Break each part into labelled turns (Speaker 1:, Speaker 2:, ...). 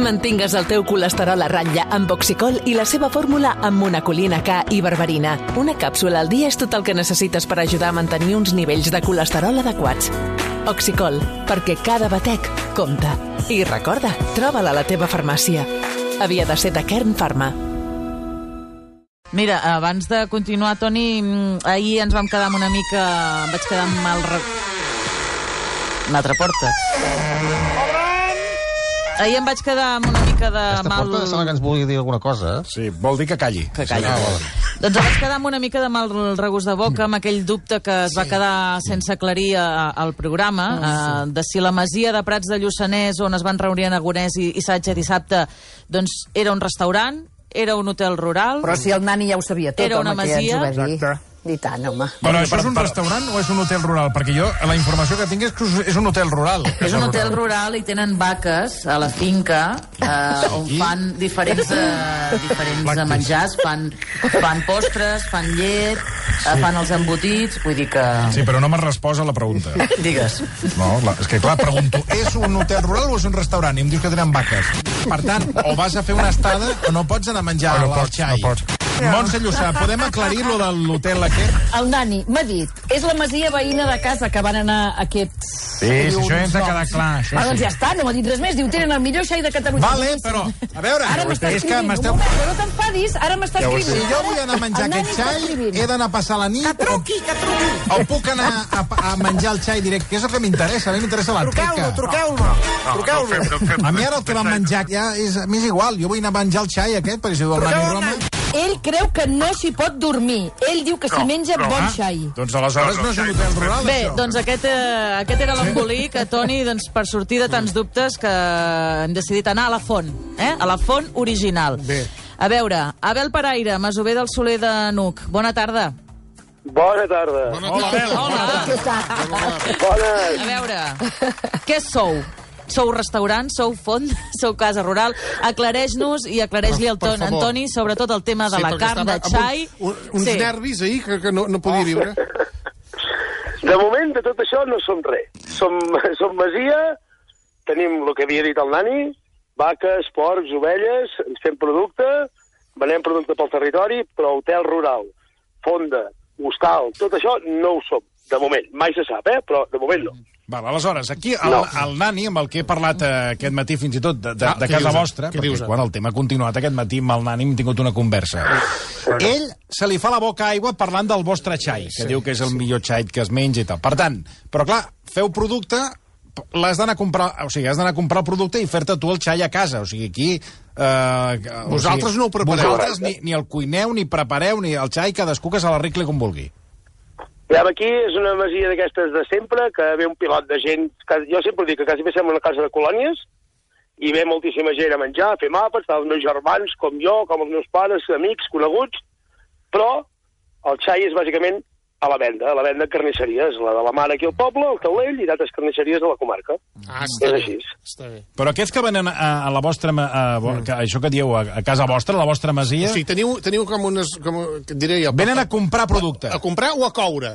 Speaker 1: Mantingues el teu colesterol a ratlla amb Oxicol i la seva fórmula amb monacolina K i berberina. Una càpsula al dia és tot el que necessites per ajudar a mantenir uns nivells de colesterol adequats. Oxicol, perquè cada batec compta. I recorda, troba-la a la teva farmàcia. Havia de ser de Kern Pharma.
Speaker 2: Mira, abans de continuar, Toni, mm, ahir ens vam quedar amb una mica... Em vaig quedar amb mal... Re... Una altra porta. Ahir em vaig quedar amb una mica de
Speaker 3: Aquesta
Speaker 2: mal...
Speaker 3: porta sembla que ens vulgui dir alguna cosa. eh?
Speaker 4: Sí, vol dir que calli.
Speaker 2: Que calla.
Speaker 3: Ah, vale.
Speaker 2: Doncs em vaig quedar amb una mica de mal regust de boca, amb aquell dubte que es va quedar sense aclarir a- al programa, eh, de si la masia de Prats de Lluçanès, on es van reunir Aragonès i, i Satge dissabte, doncs era un restaurant, era un hotel rural...
Speaker 5: Però si el nani ja ho sabia tot,
Speaker 2: Era una
Speaker 5: home, que ja ens ho
Speaker 2: masia.
Speaker 5: va dir.
Speaker 6: Exacte.
Speaker 5: I tant, home.
Speaker 4: Però això és un restaurant o és un hotel rural? Perquè jo, la informació que tinc és que és un hotel rural.
Speaker 2: És un hotel rural i tenen vaques a la finca eh, on fan diferents, eh, diferents
Speaker 4: Làctics.
Speaker 2: menjars, fan, fan postres, fan llet, eh, fan els embotits, vull dir que...
Speaker 4: Sí, però no m'has respost a la pregunta.
Speaker 2: Digues.
Speaker 4: No, la- és que clar, pregunto, és un hotel rural o és un restaurant? I em dius que tenen vaques. Per tant, o vas a fer una estada o no pots anar a menjar
Speaker 3: O no
Speaker 4: al- al
Speaker 3: pots,
Speaker 4: xai.
Speaker 3: no pots.
Speaker 4: Montse Llussà, podem aclarir lo de l'hotel aquest?
Speaker 5: El nani m'ha dit, és la masia veïna de casa que van anar aquests...
Speaker 4: Sí, sí, això ja ens ha quedat clar, això
Speaker 5: Ah,
Speaker 4: sí.
Speaker 5: doncs ja està, no m'ha dit res més. Diu, tenen el millor xai de Catalunya.
Speaker 4: Vale, però, a veure,
Speaker 5: Ara m'està
Speaker 4: és que
Speaker 5: escrivint. Un
Speaker 4: m'esteu...
Speaker 5: moment, però no t'enfadis, ara m'està
Speaker 4: Si
Speaker 5: escrivint.
Speaker 4: jo vull anar a menjar
Speaker 5: El nani
Speaker 4: aquest
Speaker 5: està
Speaker 4: xai,
Speaker 5: escrivint.
Speaker 4: he d'anar a passar la nit... Que truqui, que truqui! O puc anar a, a menjar el xai directe, que és el que m'interessa, a mi m'interessa la teca.
Speaker 6: truqueu-lo.
Speaker 4: A mi ara el que va menjar ja és... M'és igual, jo vull anar a menjar el xai aquest, per si ho diu el Nani Roma.
Speaker 5: Ell creu que no s'hi pot dormir. Ell diu que s'hi menja bon eh? xai.
Speaker 4: Doncs aleshores no és un hotel rural,
Speaker 2: Bé,
Speaker 4: això.
Speaker 2: doncs aquest, eh, aquest era l'embolic, que Toni, doncs, per sortir de tants dubtes que hem decidit anar a la font, eh? a la font original. Bé. A veure, Abel Paraire, masover del Soler de Nuc. Bona tarda.
Speaker 6: Bona tarda.
Speaker 4: Hola, Abel.
Speaker 2: Hola.
Speaker 6: Bona...
Speaker 2: A veure, què sou? Sou restaurant, sou font, sou casa rural. Aclareix-nos i aclareix-li al
Speaker 7: Per
Speaker 2: ton,
Speaker 7: favor.
Speaker 2: Antoni sobre tot el tema de la
Speaker 7: perquè
Speaker 2: carn de
Speaker 7: estava amb
Speaker 2: xai.
Speaker 7: Un, un, uns
Speaker 2: sí.
Speaker 7: nervis ahir que, que no, no podia viure.
Speaker 6: De moment, de tot això, no som res. Som, som masia, tenim el que havia dit el nani, vaques, porcs, ovelles, ens fem producte, venem producte pel territori, però hotel rural, fonda, hostal, tot això no ho som, de moment. Mai se sap, eh? però de moment no.
Speaker 4: Val, aleshores, aquí el,
Speaker 6: No.
Speaker 4: el Nani, amb el que he parlat eh, aquest matí fins i tot de, de,
Speaker 7: Ah,
Speaker 4: de
Speaker 7: què
Speaker 4: casa
Speaker 7: dius, eh?
Speaker 4: vostra,
Speaker 7: Què
Speaker 4: perquè
Speaker 7: dius, eh?
Speaker 4: quan el tema ha continuat aquest matí amb el Nani hem tingut una conversa. Ell se li fa la boca aigua parlant del vostre xai, que diu que és el millor xai que es menja i tal. Per tant, però clar, feu producte, p- l'has d'anar a comprar, o sigui, has d'anar a comprar el producte i fer-te tu el xai a casa, o sigui, aquí... Eh,
Speaker 7: Vosaltres no ho prepareu. eh?
Speaker 4: Vosaltres ni, ni el cuineu, ni prepareu, ni el xai, cadascú que se l'arregle com vulgui.
Speaker 6: Ja, aquí és una masia d'aquestes de sempre, que ve un pilot de gent... Que, jo sempre dic que quasi bé sembla una casa de colònies, i ve moltíssima gent a menjar, a fer mapes, tant els meus germans com jo, com els meus pares, amics, coneguts, però el xai és bàsicament a la venda, a la venda en carnisseries, la de la mare aquí al poble, el taulell i d'altres carnisseries de la comarca.
Speaker 7: Ah,
Speaker 6: És així.
Speaker 7: Està bé.
Speaker 4: Però aquests que venen a, a la vostra... ma- A, a, que, això que dieu, a, a casa vostra, a la vostra
Speaker 7: Mm. O
Speaker 4: masia,
Speaker 7: sigui, teniu, teniu com unes... Com, que et diré jo,
Speaker 4: venen a comprar producte.
Speaker 7: a comprar o a coure?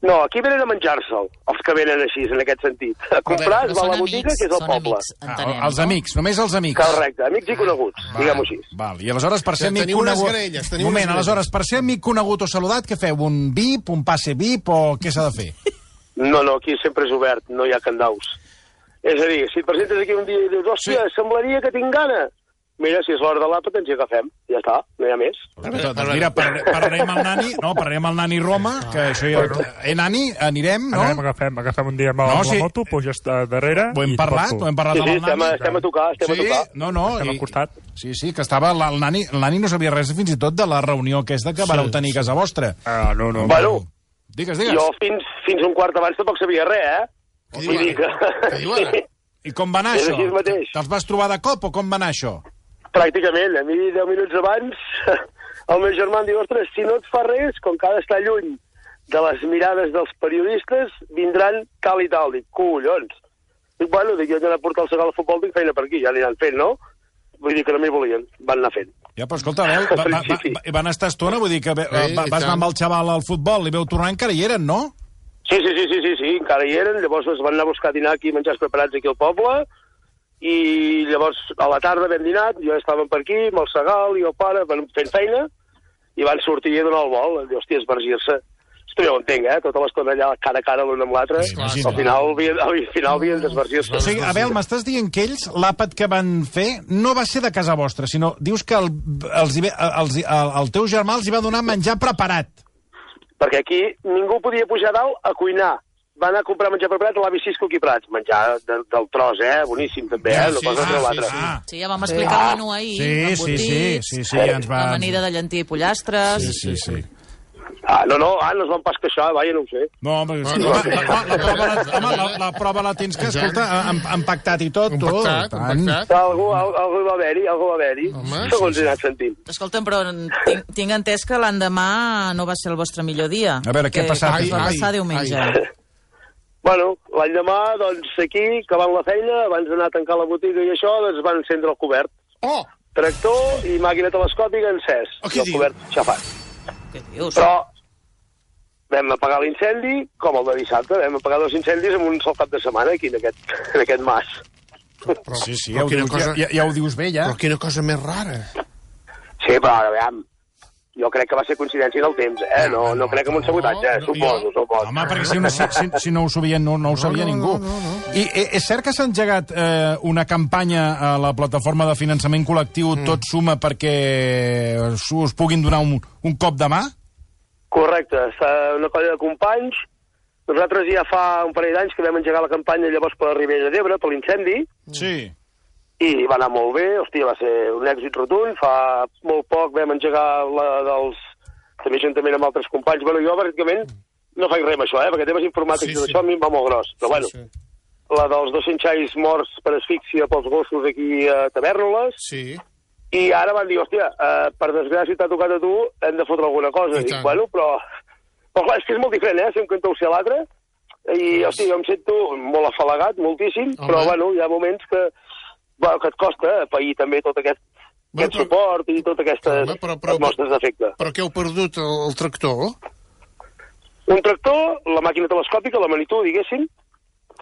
Speaker 6: No, aquí venen a menjar-se'l, els que venen així, en aquest sentit. A comprar es va a la botiga, que és el poble.
Speaker 4: Ah, els amics, només els amics.
Speaker 6: Correcte, amics i coneguts, diguem-ho així.
Speaker 4: Val, i aleshores per ser
Speaker 7: Ja,
Speaker 4: amic
Speaker 7: teniu unes
Speaker 4: conegut...
Speaker 7: grelles, teniu
Speaker 4: Moment,
Speaker 7: unes grelles.
Speaker 4: aleshores, per ser amic conegut o saludat, què feu? Un VIP, un passe VIP o què s'ha de fer?
Speaker 6: No, no, aquí sempre és obert, no hi ha candaus. És a dir, si et presentes aquí un dia i dius, hòstia, sí. semblaria que tinc gana. Mira, si és l'hora de l'àpat, ens hi agafem. Ja està, no hi ha més.
Speaker 4: Doncs mira, par- parlarem amb el Nani, no, parlarem amb el Nani Roma, que això ja... Eh, Nani, anirem,
Speaker 8: No? Ah, Anem,
Speaker 4: no?
Speaker 8: agafem, agafem un dia amb, no,
Speaker 4: No,
Speaker 8: amb
Speaker 4: sí.
Speaker 8: la moto, puges de darrere...
Speaker 4: Ho hem
Speaker 8: i
Speaker 4: parlat,
Speaker 8: tot tu.
Speaker 4: ho hem parlat
Speaker 6: Sí,
Speaker 4: amb
Speaker 6: sí,
Speaker 4: el
Speaker 6: estem a,
Speaker 4: Nani.
Speaker 6: estem a tocar, estem
Speaker 4: Sí,
Speaker 6: a tocar.
Speaker 4: no, no.
Speaker 8: Estem al costat.
Speaker 4: Sí, sí, que estava... la- El Nani, el Nani no sabia res fins i tot de la reunió aquesta que vareu tenir a casa vostra.
Speaker 8: Ah, no, no.
Speaker 6: Bueno,
Speaker 4: Digues, digues.
Speaker 6: jo fins, fins un quart abans tampoc sabia res, eh?
Speaker 7: Què diu
Speaker 6: Vull dir
Speaker 7: ara?
Speaker 6: que-
Speaker 7: Què diu ara?
Speaker 4: I com va anar
Speaker 6: És
Speaker 4: això?
Speaker 6: així mateix.
Speaker 4: Te'ls vas trobar de cop o com va anar això?
Speaker 6: Pràcticament, a mi 10 minuts abans el meu germà em diu, ostres, si no et fa res, com que ha d'estar lluny de les mirades dels periodistes, vindran tal i tal. Dic, collons! Dic, bueno, dic, jo he d'anar a portar el segal al futbol, tinc feina per aquí, ja l'aniran fent, no? Vull dir que no m'hi volien, van anar fent.
Speaker 4: Ja, però escolta, Abel, va, va, va, va, van estar estona, vull dir que ve,
Speaker 7: Sí,
Speaker 4: va,
Speaker 7: i
Speaker 4: vas anar
Speaker 7: tant.
Speaker 4: amb el xaval al futbol, li veu tornar, encara hi eren, no?
Speaker 6: Sí, sí, sí, doncs, sí, sí, sí, encara hi eren, llavors es van anar a buscar dinar aquí, menjars preparats aquí al poble, i llavors a la tarda ben dinat, jo estàvem per aquí, amb el Segal i el pare, van fent feina, i van sortir a donar el vol, a dir, hòstia, esbargir-se. Esto ja ho entenc, eh? Tota l'estona allà, cara a cara l'un amb l'altre,
Speaker 4: Sí,
Speaker 6: al
Speaker 4: imagina.
Speaker 6: final havien, al final havien d'esbargir-se.
Speaker 4: O sigui, Abel, m'estàs dient que ells, l'àpat que van fer, no va ser de casa vostra, sinó dius que el, els, hi ve- els, hi- el, el teu germà els hi va donar menjar preparat.
Speaker 6: perquè aquí ningú podia pujar a dalt a cuinar. Va anar a comprar menjar preparat a l'avi Cisco aquí a Prats, menjar de, del tros, eh? Boníssim, també, eh? No
Speaker 7: Sí,
Speaker 6: posa sí,
Speaker 7: sí, sí,
Speaker 6: l'altre.
Speaker 7: sí.
Speaker 4: Ah,
Speaker 2: Sí, ja vam explicar el menú ahir.
Speaker 4: sí, sí,
Speaker 2: embotits,
Speaker 4: sí, sí, sí, ja ens va...
Speaker 2: Amanida de llentia i pollastres.
Speaker 4: Sí, sí, sí.
Speaker 6: Ah, no, no, ah, no es van pas queixar, vaja, no ho sé.
Speaker 4: No, home,
Speaker 7: No,
Speaker 4: sí,
Speaker 7: no,
Speaker 4: home,
Speaker 7: sí.
Speaker 4: la, la, la, prova la, home la, la prova la tens que,
Speaker 7: Exacte.
Speaker 4: escolta, han, han pactat i tot, tu.
Speaker 7: Compactat,
Speaker 4: tant.
Speaker 7: compactat.
Speaker 6: Algú, al- algú hi va haver-hi, algú hi va haver-hi.
Speaker 7: Home,
Speaker 6: Segons
Speaker 7: sí,
Speaker 6: he anat sentint.
Speaker 2: Escolta'm, però tinc, tinc entès que l'endemà no va ser el vostre millor dia.
Speaker 4: A veure, què ha
Speaker 2: Que-
Speaker 4: passat?
Speaker 2: que es va
Speaker 7: Ai,
Speaker 2: passar
Speaker 7: ai,
Speaker 2: diumenge.
Speaker 7: ai.
Speaker 6: Bueno, l'endemà, doncs, aquí, acabant la feina, abans d'anar a tancar la botiga i això, doncs van encendre el cobert.
Speaker 7: Oh,
Speaker 6: Tractor i màquina telescòpica encès.
Speaker 7: Oh, què
Speaker 6: I el
Speaker 7: diu?
Speaker 6: cobert xafat.
Speaker 2: Què dius?
Speaker 6: Però vam apagar l'incendi, com el de dissabte, vam apagar dos incendis en un sol cap de setmana aquí en aquest, en aquest mas.
Speaker 7: però,
Speaker 4: Sí, sí, ja
Speaker 7: però
Speaker 4: ho,
Speaker 7: quina
Speaker 4: dius,
Speaker 7: cosa,
Speaker 4: ja, ja, ja ho dius bé, ja.
Speaker 7: Però quina cosa més rara.
Speaker 6: Sí, però ara, veiem, jo crec que va ser coincidència del temps, eh? No, no crec que amb un sabotatge, eh?
Speaker 7: Ah, no,
Speaker 6: suposo, suposo.
Speaker 4: Home, perquè si, no, si, si, si no ho sabien, no, no ho sabia
Speaker 7: no,
Speaker 4: ningú.
Speaker 7: no, no, no.
Speaker 4: I e- és cert que s'ha engegat eh, una campanya a la plataforma de finançament col·lectiu mm. Tot Suma perquè us, us puguin donar un, un cop de mà?
Speaker 6: Correcte, està una colla de companys. Nosaltres ja fa un parell d'anys que vam engegar la campanya llavors per la Ribera d'Ebre, per l'incendi,
Speaker 4: Sí.
Speaker 6: i va anar molt bé, hòstia, va ser un èxit rotund. Fa molt poc vam engegar la dels... també juntament amb altres companys. Bueno, jo, pràcticament, no faig res amb això, eh? perquè temes informàtics
Speaker 7: Sí,
Speaker 6: sí, sí.
Speaker 7: sí.
Speaker 6: d'això a mi em va molt gros. Però, bueno,
Speaker 7: Sí, sí.
Speaker 6: la dels 200 xais morts per asfíxia pels gossos aquí a Tavernoles,
Speaker 7: Sí.
Speaker 6: i ara van dir, hòstia, eh, per desgràcia t'ha tocat a tu, hem de fotre alguna cosa. I
Speaker 7: I
Speaker 6: Dic,
Speaker 7: tant.
Speaker 6: bueno, però... Però clar, és que és molt diferent, eh? Si un cantó o si l'altre. I, hòstia, jo em sento molt afalagat, moltíssim,
Speaker 7: Home.
Speaker 6: però, bueno, hi ha moments que, bueno, que et costa eh, pair també tot aquest,
Speaker 7: Bueno,
Speaker 6: aquest
Speaker 7: però-
Speaker 6: suport i tot aquestes
Speaker 7: Home, però- però-
Speaker 6: mostres d'afecte.
Speaker 7: Però que heu perdut el, el tractor?
Speaker 6: Un tractor, la màquina telescòpica, la Manitou, diguéssim,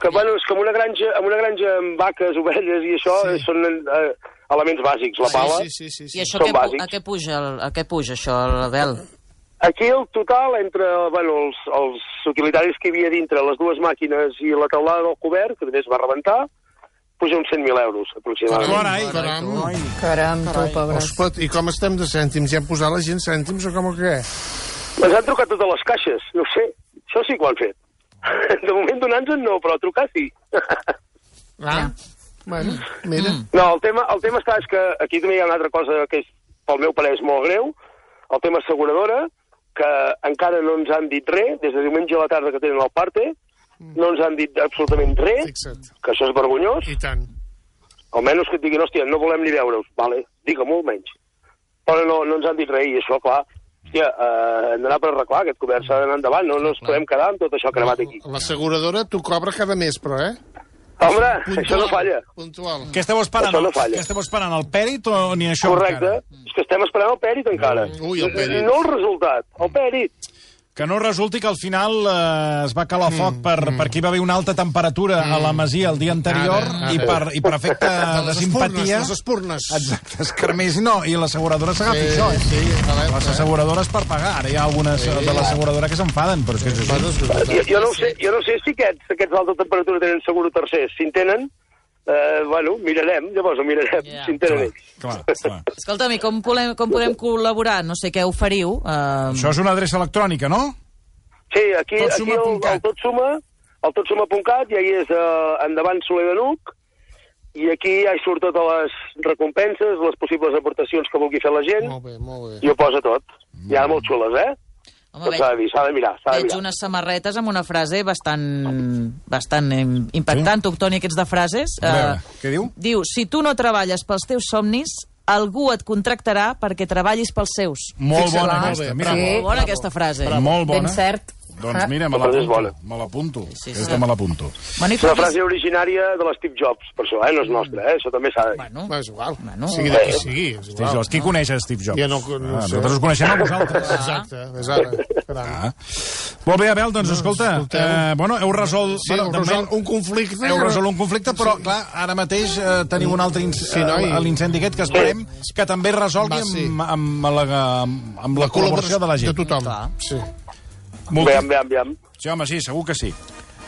Speaker 6: que, bueno, és que en una granja, en una granja amb vaques, ovelles i això
Speaker 7: Sí.
Speaker 6: sí. són eh, elements bàsics. La pala,
Speaker 7: Sí, sí, sí. sí,
Speaker 2: I
Speaker 7: sí.
Speaker 2: això
Speaker 6: Són
Speaker 2: què, pu-
Speaker 6: bàsics.
Speaker 2: a què puja, el- a què puja això, l'Abel?
Speaker 6: Aquí el total entre bueno, els, els utilitaris que hi havia dintre, les dues màquines i la teulada del cobert, que també es va rebentar, puja uns 100.000 euros, aproximadament.
Speaker 4: Carai,
Speaker 7: Caram.
Speaker 5: Caram, tu, pobre.
Speaker 7: Ospot, I com estem de cèntims? Ja han posat la gent cèntims o com o què?
Speaker 6: Ens han trucat totes les caixes, no ho sé. Això sí que ho han fet. De moment donar-nos no, però trucar sí.
Speaker 7: Ah, bueno, mira.
Speaker 6: No, el tema, el tema està és que aquí també hi ha una altra cosa que és, pel meu parer és molt greu, el tema asseguradora, que encara no ens han dit res, des de diumenge a la tarda que tenen el parte, no ens han dit absolutament res,
Speaker 7: Mm. Fixa't.
Speaker 6: que això és vergonyós,
Speaker 7: I tant.
Speaker 6: Almenys que et diguin, hòstia, no volem ni veure-us. Vale, digue-m'ho almenys. Però no, no ens han dit res, i això, clar, hòstia, eh, hem d'anar per arreglar, aquest comerç s'ha d'anar endavant, no, no ens podem quedar amb tot això cremat aquí.
Speaker 7: L'asseguradora t'ho cobra cada mes, però, eh?
Speaker 6: Home, això no falla.
Speaker 7: Puntual.
Speaker 4: Què esteu esperant?
Speaker 6: Això no falla.
Speaker 4: Què esteu esperant, el pèrit o ni això
Speaker 6: Correcte.
Speaker 4: encara?
Speaker 6: És que estem esperant el pèrit encara.
Speaker 7: Mm, Ui, el pèrit.
Speaker 6: No el resultat, el pèrit.
Speaker 4: Que no resulti que al final eh, es va calar foc per, mm. perquè hi va haver una alta temperatura mm. a la masia el dia anterior
Speaker 7: Ara,
Speaker 4: i, per,
Speaker 7: ara.
Speaker 4: i per efecte
Speaker 3: Ah,
Speaker 7: De
Speaker 4: de
Speaker 7: les
Speaker 4: simpatia...
Speaker 7: espurnes, les espurnes.
Speaker 4: Exacte, es cremés, no, i l'asseguradora s'agafi
Speaker 7: Sí,
Speaker 4: això, eh?
Speaker 7: sí, alerta,
Speaker 4: les asseguradores per pagar. Ara hi ha algunes sí, de l'asseguradora que s'enfaden, però és que és
Speaker 7: Bueno,
Speaker 4: així.
Speaker 7: és veritat.
Speaker 6: Jo, jo, no ho sé, jo no sé si aquests, aquests d'alta temperatura tenen seguro tercer. Si en tenen, eh, bueno, mirarem, llavors ho mirarem,
Speaker 2: Ja.
Speaker 6: si en tenen ells.
Speaker 4: Clar, clar.
Speaker 2: Escolta'm, i com podem, com podem col·laborar? No sé què oferiu. Eh,
Speaker 4: Això és una adreça electrònica, no?
Speaker 6: Sí, aquí,
Speaker 4: Tot
Speaker 6: aquí
Speaker 4: suma
Speaker 6: el,
Speaker 4: punt cat.
Speaker 6: el tot suma, el tot suma.cat, i ahí és eh, endavant Soler de Nuc, i aquí ja hi surt totes les recompenses, les possibles aportacions que vulgui fer la gent,
Speaker 7: Molt bé, molt bé.
Speaker 6: i ho posa tot. I ara molt xules, eh?
Speaker 2: home,
Speaker 6: Tot s'ha de
Speaker 2: veig,
Speaker 6: dir, s'ha de mirar, s'ha de
Speaker 2: veig
Speaker 6: mirar.
Speaker 2: unes samarretes amb una frase bastant, bastant em, impactant. Sí. Toctoni, aquests de frases. Eh,
Speaker 4: A veure, què diu?
Speaker 2: Diu, si tu no treballes pels teus somnis, algú et contractarà perquè treballis pels seus.
Speaker 4: Molt
Speaker 7: Fixa-la.
Speaker 4: bona
Speaker 7: Molt
Speaker 4: aquesta,
Speaker 7: bé,
Speaker 4: mira.
Speaker 5: bravo.
Speaker 2: Molt
Speaker 4: Sí.
Speaker 2: bona aquesta frase.
Speaker 4: Molt
Speaker 5: Ben
Speaker 4: bona.
Speaker 5: cert.
Speaker 7: Ah.
Speaker 4: Doncs mira, me
Speaker 6: La frase és
Speaker 4: l'apunto.
Speaker 6: bona.
Speaker 4: Me l'apunto.
Speaker 2: Sí, sí.
Speaker 4: Aquesta me l'apunto.
Speaker 2: Bueno, i
Speaker 6: És una
Speaker 2: com-
Speaker 6: frase originària de l'Steve Jobs, per això, eh? No és nostra, eh? Això també s'ha de dir.
Speaker 2: Mm. Bueno,
Speaker 7: Va, és igual.
Speaker 2: Bueno.
Speaker 7: sigui de qui sigui, és
Speaker 4: Steve
Speaker 7: igual.
Speaker 4: Jobs. Qui coneix a Steve Jobs?
Speaker 7: Jo no- no
Speaker 4: ah,
Speaker 7: sé.
Speaker 4: Nosaltres us coneixem a vosaltres.
Speaker 7: Exacte, és ara. Caram.
Speaker 3: Ah. Molt bé, Abel, doncs escolta,
Speaker 7: escolteu.
Speaker 3: eh, bueno, heu resolt...
Speaker 7: Sí,
Speaker 3: bueno,
Speaker 7: heu
Speaker 3: de moment-
Speaker 7: resolt un conflicte.
Speaker 3: Heu resolt un conflicte, però, sí. clar, ara mateix eh, teniu un altre inc sí,
Speaker 7: Sí, noi.
Speaker 3: l'incendi aquest que esperem que també es resolgui
Speaker 7: Va, sí.
Speaker 3: amb, amb, la, amb, amb la col·laboració de la gent.
Speaker 7: De tothom.
Speaker 2: Clar.
Speaker 7: Sí.
Speaker 3: Moltes...
Speaker 6: Veam, veam, veam.
Speaker 3: Sí, home, sí, segur que sí.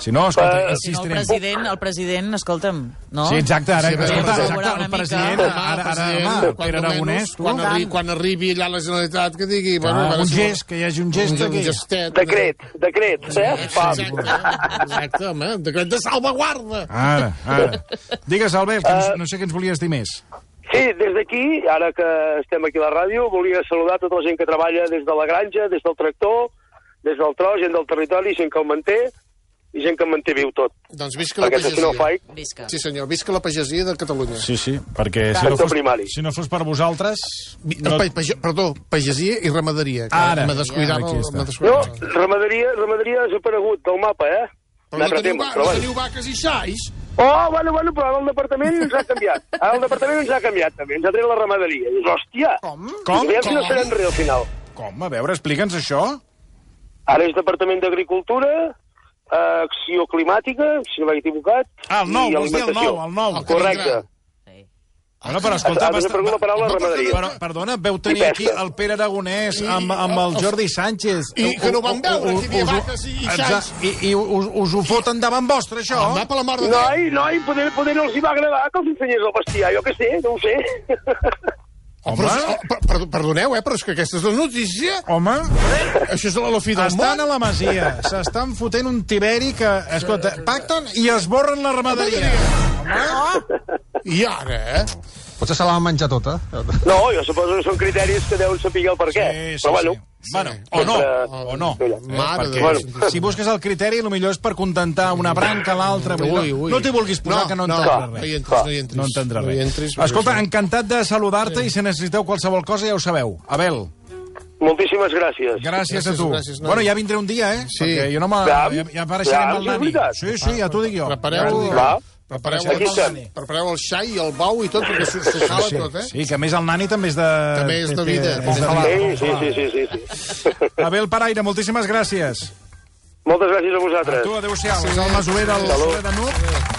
Speaker 3: Si no, escolta,
Speaker 6: Eh,
Speaker 2: Si no, el
Speaker 3: insistirem.
Speaker 2: president, el president, escolta'm, no?
Speaker 3: Sí, exacte, ara,
Speaker 7: Sí,
Speaker 3: sí,
Speaker 7: però
Speaker 3: escolta,
Speaker 7: col·laborar
Speaker 3: exacte,
Speaker 2: una
Speaker 3: el
Speaker 2: mica.
Speaker 3: president,
Speaker 2: Home,
Speaker 3: ara, ara, ara,
Speaker 7: president,
Speaker 3: home,
Speaker 7: quan
Speaker 3: Pere
Speaker 7: almenys,
Speaker 3: Aragonès, tu,
Speaker 7: Quan, arri quan arribi allà la Generalitat, que digui... bueno,
Speaker 3: ah,
Speaker 7: a veure
Speaker 3: un
Speaker 7: si-
Speaker 3: gest, que hi hagi un gest
Speaker 7: Un
Speaker 3: aquí.
Speaker 7: gestet. eh.
Speaker 6: Decret, decret, eh? Pam.
Speaker 7: Exacte, exacte, home, un decret de salvaguarda.
Speaker 3: Ara, ara. Digues, Albert, que
Speaker 6: Ah.
Speaker 3: no, no sé què ens volies dir més.
Speaker 6: Sí, des d'aquí, ara que estem aquí a la ràdio, volia saludar tota la gent que treballa des de la granja, des del tractor, des del tro, gent del territori, gent que el manté, i gent que el manté viu tot.
Speaker 7: Doncs visca la
Speaker 6: Perquè si no ho
Speaker 7: pagesia.
Speaker 6: faig,
Speaker 2: Visca.
Speaker 7: Sí, senyor, visca la pagesia de Catalunya.
Speaker 3: Sí, sí, perquè si
Speaker 6: Sector
Speaker 3: no fos,
Speaker 6: primari.
Speaker 3: si no fos per vosaltres...
Speaker 7: No. Pa, page, perdó, pagesia i ramaderia. que
Speaker 3: Ara.
Speaker 7: Me descuidava.
Speaker 3: Aquí està.
Speaker 7: Me
Speaker 6: No,
Speaker 7: descuidava.
Speaker 6: ramaderia, ramaderia ha desaparegut del mapa, eh?
Speaker 7: Però no
Speaker 6: Altre
Speaker 7: teniu,
Speaker 6: tema,
Speaker 7: va,
Speaker 6: però
Speaker 7: no
Speaker 6: bueno.
Speaker 7: teniu vaques i xais?
Speaker 6: Oh, bueno, bueno, però ara el departament ens ha canviat. Ara el departament ens ha canviat, també. Ens ha tret la ramaderia. I dius, hòstia,
Speaker 7: Com?
Speaker 3: Com?
Speaker 6: aviam si no
Speaker 7: Com?
Speaker 6: serem res al final.
Speaker 3: Com? A veure, explica'ns això.
Speaker 6: Ara és Departament d'Agricultura, eh, Acció Climàtica, si no m'he equivocat.
Speaker 3: Ah, el nou,
Speaker 6: i
Speaker 3: vols dir el
Speaker 6: Alimentació.
Speaker 3: nou, el nou.
Speaker 6: Correcte.
Speaker 3: Bueno, però escolta...
Speaker 6: Ha desaparegut la paraula ramaderia.
Speaker 3: Però, perdona, veu tenir
Speaker 6: I
Speaker 3: aquí
Speaker 6: pesca.
Speaker 3: el Pere Aragonès amb, amb el Jordi Sánchez.
Speaker 7: I que no van veure, que hi havia
Speaker 3: Us ho-
Speaker 7: vaques i- i
Speaker 3: Exa-
Speaker 7: xais.
Speaker 3: I, i us, us ho foten davant vostre, això?
Speaker 7: Home, per la mort de Déu.
Speaker 6: Noi, noi, poder, poder no els hi va agradar que els ensenyés el bestiar, jo què sé, no ho sé.
Speaker 7: Oh, però, oh, per, per, perdoneu, eh, però és que aquesta és la notícia.
Speaker 3: Home,
Speaker 7: Això és de la lofi del
Speaker 3: estan
Speaker 7: món.
Speaker 3: a la Masia, s'estan fotent un tiberi que, escolta, pacten i esborren la ramaderia.
Speaker 7: I ara, eh?
Speaker 9: Potser se la van menjar tota.
Speaker 6: No, jo suposo que són criteris que deuen saber el per què. però bueno,
Speaker 3: Eh, sí. Bueno, o no, o no.
Speaker 7: Mare de
Speaker 3: Perquè
Speaker 7: Déu.
Speaker 3: si busques el criteri, el millor és per contentar una branca, l'altra... vull dir,
Speaker 7: Ui,
Speaker 3: no-
Speaker 7: ui.
Speaker 3: No t'hi vulguis posar, que no entendrà
Speaker 7: No,
Speaker 3: res.
Speaker 7: no hi entris, no hi entris.
Speaker 3: No entendrà
Speaker 7: No hi
Speaker 3: res.
Speaker 7: entris,
Speaker 3: Escolta,
Speaker 7: perquè-
Speaker 3: encantat de saludar-te i si necessiteu qualsevol cosa ja ho sabeu. Abel,
Speaker 6: moltíssimes gràcies.
Speaker 3: gràcies,
Speaker 7: Gràcies,
Speaker 3: a tu.
Speaker 7: gràcies, noi.
Speaker 3: bueno, ja vindré un dia, eh?
Speaker 7: Sí.
Speaker 3: Perquè jo no me...
Speaker 6: Clar,
Speaker 3: Ja, ja apareixeré
Speaker 6: clar,
Speaker 3: amb el
Speaker 6: això és
Speaker 3: Nani.
Speaker 6: veritat.
Speaker 3: Sí, sí, ja t'ho dic jo. Ja t'ho
Speaker 7: Prepareu,
Speaker 3: dic.
Speaker 6: Clar.
Speaker 7: prepareu,
Speaker 6: Aquí estem.
Speaker 7: el, prepareu el xai i el bau i tot, perquè s'ho s'ho sala
Speaker 3: Sí,
Speaker 7: tot, eh?
Speaker 3: sí, que a més el Nani també és de...
Speaker 7: També és de vida.
Speaker 3: té- és de vida.
Speaker 6: Sí, sí, sí, sí, sí. sí.
Speaker 3: Abel Paraire, moltíssimes gràcies.
Speaker 6: Moltes gràcies a
Speaker 3: A
Speaker 6: vosaltres.
Speaker 3: tu, adéu-siau. És el masover del
Speaker 6: Salut.
Speaker 3: Soler de Nuc.